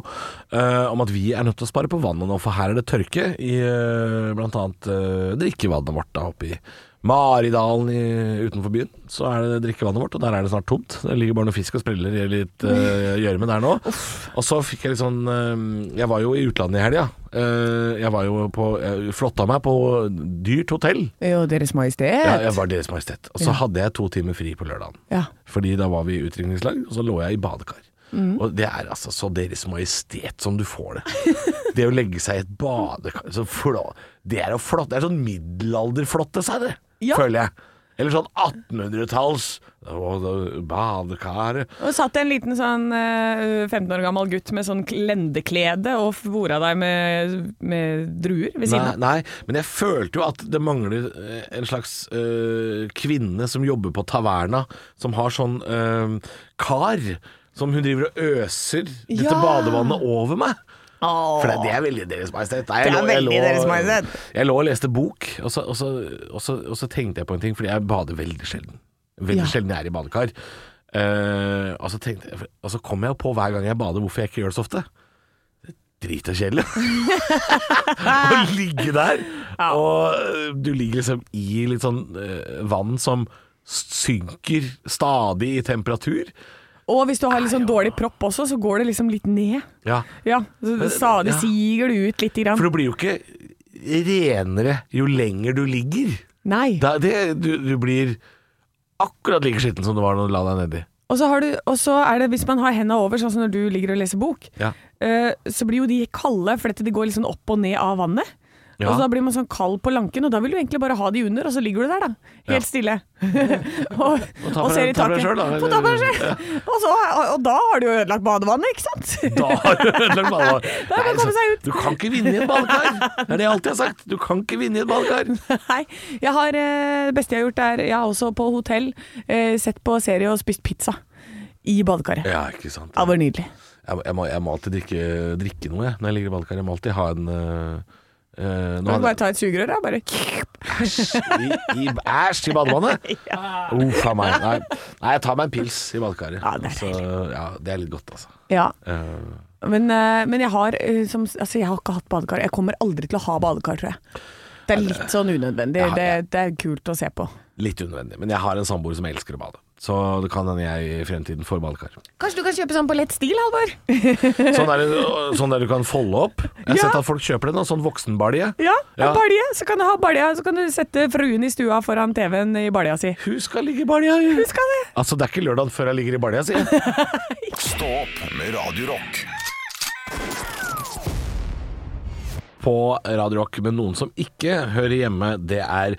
D: eh, om at vi er nødt til å spare på vannet nå, for her er det tørke i eh, blant annet eh, drikkevannet vårt da oppe i Maridalen i, utenfor byen. Så er det drikkevannet vårt, og der er det snart tomt. Det ligger bare noen fisk og spreller i litt eh, gjørme der nå. Og så fikk jeg litt sånn eh, Jeg var jo i utlandet i helga. Eh, jeg var jo på Jeg flotta meg på dyrt hotell.
C: Jo, Deres Majestet.
D: Ja, jeg var Deres Majestet. Og så hadde jeg to timer fri på lørdagen.
C: Ja.
D: Fordi da var vi i utdrikningslag, og så lå jeg i badekar.
C: Mm.
D: Og det er altså så Deres Majestet som du får det. Det å legge seg i et badekar så flå, Det er å flott, det er sånn middelalderflotte seg, det.
C: Ja.
D: Føler jeg. Eller sånn 1800-talls. Og da- Badekaret
C: Og satt det en liten sånn eh, 15 år gammel gutt med sånn lendeklede og fora deg med, med druer ved
D: Nei,
C: siden av.
D: nei, men jeg følte jo at det mangler eh, en slags eh, kvinne som jobber på taverna, som har sånn eh, kar som hun driver og øser dette
C: Ja.
D: badevannet over meg.
C: Åh.
D: For det, det er veldig Deres Majestet. Nei,
C: Det er
D: lå- jeg
C: veldig
D: lå-
C: Deres Majestet.
D: Jeg lå og leste bok, og så, og, så, og, så, og så tenkte jeg på en ting, fordi jeg bader veldig sjelden. Veldig
C: Ja.
D: sjelden jeg er i badekar. Eh, og, så tenkte jeg, og så kom jeg på hver gang jeg bader hvorfor jeg ikke gjør det så ofte. Drita kjedelig. Å ligge der. Og eh, du ligger liksom i litt sånn eh, vann som synker stadig i temperatur.
C: Og hvis du har litt sånn dårlig propp også, så går det liksom litt ned.
D: Ja.
C: Ja, så det stadig
D: Ja.
C: siger du ut lite grann.
D: For du blir jo ikke renere jo lenger du ligger.
C: Nei.
D: Da, det, du, du blir akkurat like skitten som du var når du la deg nedi.
C: Og så, har du, og så er det, hvis man har henda over, sånn som når du ligger og leser bok,
D: Ja.
C: eh, så blir jo de kalde, for dette, de går liksom opp og ned av vannet.
D: Ja.
C: Og så da blir man sånn kald på lanken, og da vil du egentlig bare ha de under, og så ligger du der, da. Helt stille. og,
D: ta på
C: og ser
D: deg-
C: i
D: ta på
C: taket.
D: deg selv, da,
C: Få ta på deg selv. Og, så, og, og da har du jo ødelagt badevannet, ikke sant?
D: Da har du ødelagt badet.
C: Da må man komme seg ut.
D: Du kan ikke vinne i et badekar! Det er det jeg alltid har sagt. Du kan ikke vinne i et badekar.
C: Nei. Jeg har, eh, det beste jeg har gjort, er Jeg har også på hotell eh, sett på serie og spist pizza i badekaret.
D: Ja, ikke sant.
C: Det var nydelig.
D: Jeg, må- jeg, må, jeg må alltid drikke, drikke noe jeg, når jeg ligger i badekar. Jeg må alltid ha en øh, øh, nå
C: Kan
D: hadde-
C: du bare ta et sugerør, da? Bare
D: i, i, æsj i badevannet! Uff a meg. Nei. Nei, jeg tar meg en pils i badekaret.
C: Ja, det er
D: Så, ja, det er litt godt, altså.
C: Ja.
D: Eh,
C: Men, eh, men jeg har eh, som, Altså, jeg har ikke hatt badekar. Jeg kommer aldri til å ha badekar, tror jeg. Det er litt sånn unødvendig.
D: Ja,
C: Det, det er kult å se på.
D: litt unødvendig. Men jeg har en samboer som elsker å bade. Så det kan hende jeg i fremtiden får badekar.
C: Kanskje du kan kjøpe sånn på lett stil, Halvor?
D: Sånn der, sånn der du kan folde opp. Jeg har
C: Ja.
D: sett at folk kjøper den, og sånn voksenbalje.
C: Ja,
D: Ja.
C: en balje. Så kan du ha balja, så kan du sette fruen i stua foran TV-en i balja si.
D: Hun skal ligge i balja, hun.
C: Husk det!
D: Altså, det er ikke lørdag før jeg ligger i balja, sier jeg.
B: Stå opp med Radio Rock.
D: på Radio Rock, men noen som ikke hører hjemme, det er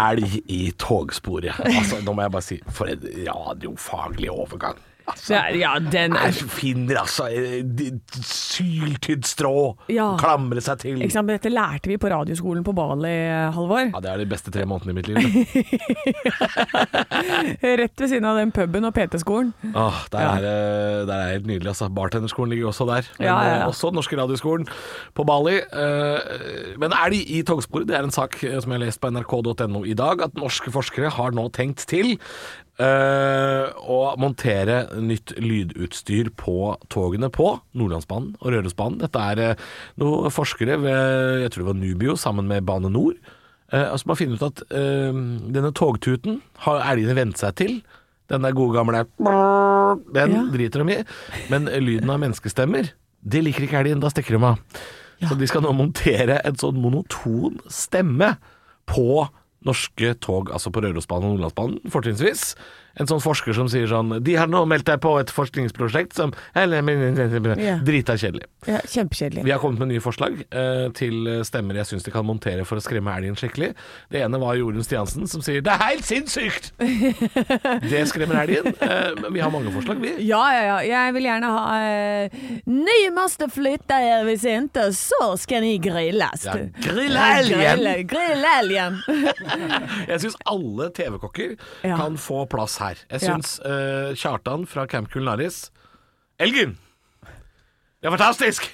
D: elg i togsporet. Altså, nå må jeg bare si, for en radiofaglig overgang. Altså,
C: Ja, den
D: jeg finner altså eh, de- syltydd strå
C: Ja.
D: å klamre seg til.
C: Ikke sant, men Dette lærte vi på radioskolen på Bali, Halvor.
D: Ja, det er de beste tre månedene i mitt liv.
C: Rett ved siden av den puben og PT-skolen.
D: Åh, Ah, der, er, det- der er det helt nydelig. Altså. Bartenderskolen ligger også der. Men,
C: Ja, ja, ja.
D: eh, Også den norske radioskolen på Bali. Eh, Men elg i togsporet, det er en sak eh, som jeg har lest på nrk.no i dag, at norske forskere har nå tenkt til eh, å montere nytt lydutstyr på togene på Nordlandsbanen og Rørosbanen. Dette er eh, noen forskere ved, jeg tror det var Nubio, sammen med Bane Nor. eh, som har funnet ut at eh, denne togtuten har elgene vent seg til. Den der gode gamle Den
C: Ja.
D: driter de i. Men lyden av menneskestemmer, det liker ikke elgen. Da stikker de av. Så de skal nå montere en sånn monoton stemme på norske tog, altså på Rørosbanen og Nordlandsbanen, fortrinnsvis. En sånn forsker som sier sånn De har nå meldt deg på et forskningsprosjekt som Drita kjedelig.
C: Ja, Kjempekjedelig.
D: Vi har kommet med nye forslag eh, til stemmer jeg syns de kan montere for å skremme elgen skikkelig. Det ene var Jorunn Stiansen som sier 'det er helt sinnssykt'! Det skremmer elgen. eh, men vi har mange forslag, vi.
C: Ja, ja, ja. Jeg vil gjerne ha eh, Ni måste flytta er hvis ikke, så skal ni grilles.
D: Ja, grill elgen!
C: Grill- Grill elgen!
D: Jeg syns alle TV-kokker
C: Ja.
D: kan få plass her. Jeg
C: Ja.
D: syns eh, Kjartan fra Camp Kulinaris Elgen! Det er fantastisk!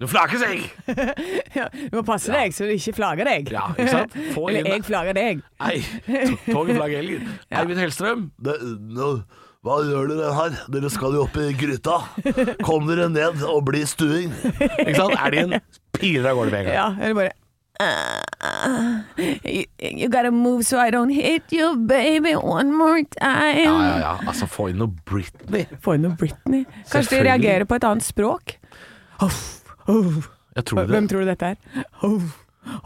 D: Du flaker seg!
C: Du må passe deg så du ikke flagger deg.
D: Ja, ikke sant? Få
C: Eller
D: inn-
C: jeg flagger deg.
D: Nei, to- toget flagger elgen. Eivind Hellstrøm. Det, nå, hva gjør dere her? Dere skal jo opp i gryta. Kom dere ned og bli stuing. Ikke sant? Elgen piler av gårde med en gang.
C: Ja, eller bare "Ah, you, you gotta move so I don't hit you, baby, one more time.
D: Ja, ja, ja. Altså, få inn noe Britney.
C: Få inn noe Britney. Kanskje de
D: Selvfølgelig.
C: reagerer på et annet språk. Huff, huff.
D: Jeg tror det.
C: Hvem tror du dette er? Huff.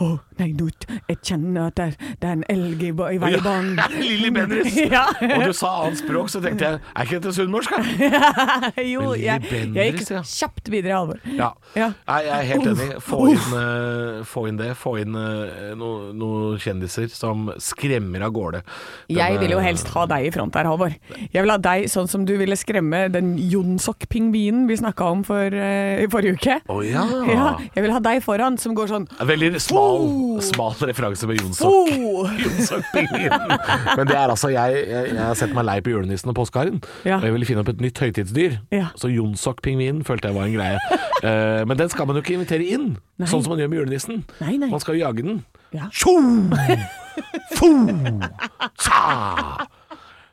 C: Åh, nei, nå t- jeg kjenner at det er, det er en elg i, ba- i veibanen.
D: Ja, Lilly Bendriss.
C: Ja.
D: Og du sa annet språk, så tenkte jeg er ikke dette sunnmørsk? da?
C: jo,
D: Lilly
C: jeg, jeg gikk
D: Bendriss, ja.
C: kjapt videre, Halvor.
D: Ja.
C: Ja.
D: Nei, jeg er helt
C: Uff,
D: enig. Få inn, eh, få inn det. Få inn eh, no- noen kjendiser som skremmer av gårde.
C: Jeg
D: Denne-
C: vil jo helst ha deg i front her, Halvor. Jeg vil ha deg sånn som du ville skremme den jonsok-pingvinen vi snakka om for, eh, i forrige uke.
D: Å ja.
C: Ja, jeg vil ha deg foran, som går sånn
D: Veldig smal,
C: Oh.
D: smal referanse med Jonsok.
C: oh!
D: Jonsok-pingvinen. Men det er altså jeg, jeg, jeg har sett meg lei på julenissen og påskeharen,
C: Ja.
D: og jeg ville finne opp et nytt høytidsdyr.
C: Ja.
D: Så Jonsok-pingvinen følte jeg var en greie. Eh, men den skal man jo ikke invitere inn,
C: Nei.
D: sånn som man gjør med julenissen.
C: Nei, nei.
D: Man skal jo jage den.
C: Ja.
D: Tjo! Fo! Sa!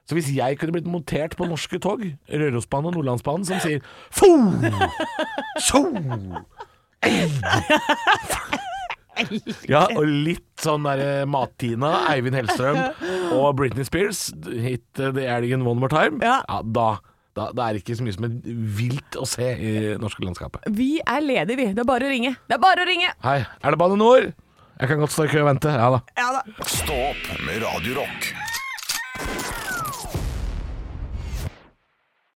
D: Så hvis jeg kunne blitt montert på norske tog, Rørosbanen og Nordlandsbanen, som sier fo! Tjo! Ja, og litt sånn derre Matina, Eivind Hellstrøm og Britney Spears, hit eh, the Alien one more time,
C: Ja.
D: da, da, da er det ikke så mye som er vilt å se i det norske landskapet.
C: Vi er ledige, vi. Det er bare å ringe. Det er bare å ringe!
D: Hei, er det Bane Nor? Jeg kan godt stå i kø og vente. Ja da.
C: Ja da.
B: Stå opp med Radio Rock.